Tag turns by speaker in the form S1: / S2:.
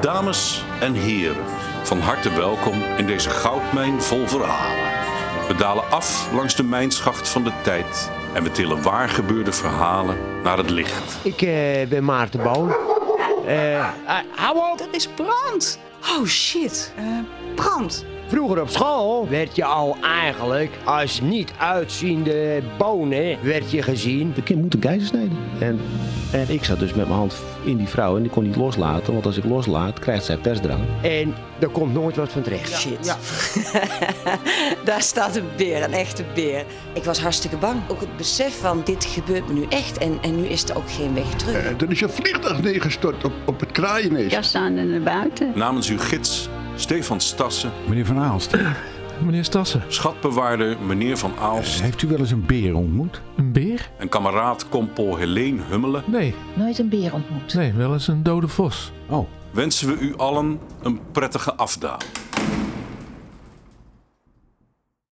S1: Dames en heren, van harte welkom in deze goudmijn vol verhalen. We dalen af langs de mijnschacht van de tijd en we tillen waar gebeurde verhalen naar het licht.
S2: Ik eh, ben Maarten Boon. Eh, ah, hou op!
S3: Er is brand. Oh shit. Eh, brand.
S2: Vroeger op school werd je al eigenlijk als niet uitziende bonen werd je gezien.
S4: De kind moet een keizer snijden. En, en ik zat dus met mijn hand in die vrouw en die kon niet loslaten. Want als ik loslaat, krijgt zij persdrang.
S2: En er komt nooit wat van terecht.
S3: Shit. Daar staat een beer, een echte beer. Ik was hartstikke bang. Ook het besef van dit gebeurt me nu echt en, en nu is er ook geen weg terug.
S5: Eh, Er is een vliegtuig neergestort op, op het kraaiennest.
S6: jas aan en naar buiten.
S1: Namens uw gids Stefan Stassen,
S7: Meneer Van Aalst. Meneer Stassen.
S1: schatbewaarder meneer Van Aalst
S7: Heeft u wel eens een beer ontmoet?
S8: Een beer?
S1: en kameraad kompol Helene Hummelen
S8: Nee,
S9: Nooit een beer ontmoet.
S8: nee, wel eens een dode vos.
S7: Oh,
S1: wensen we u allen een prettige afdaling.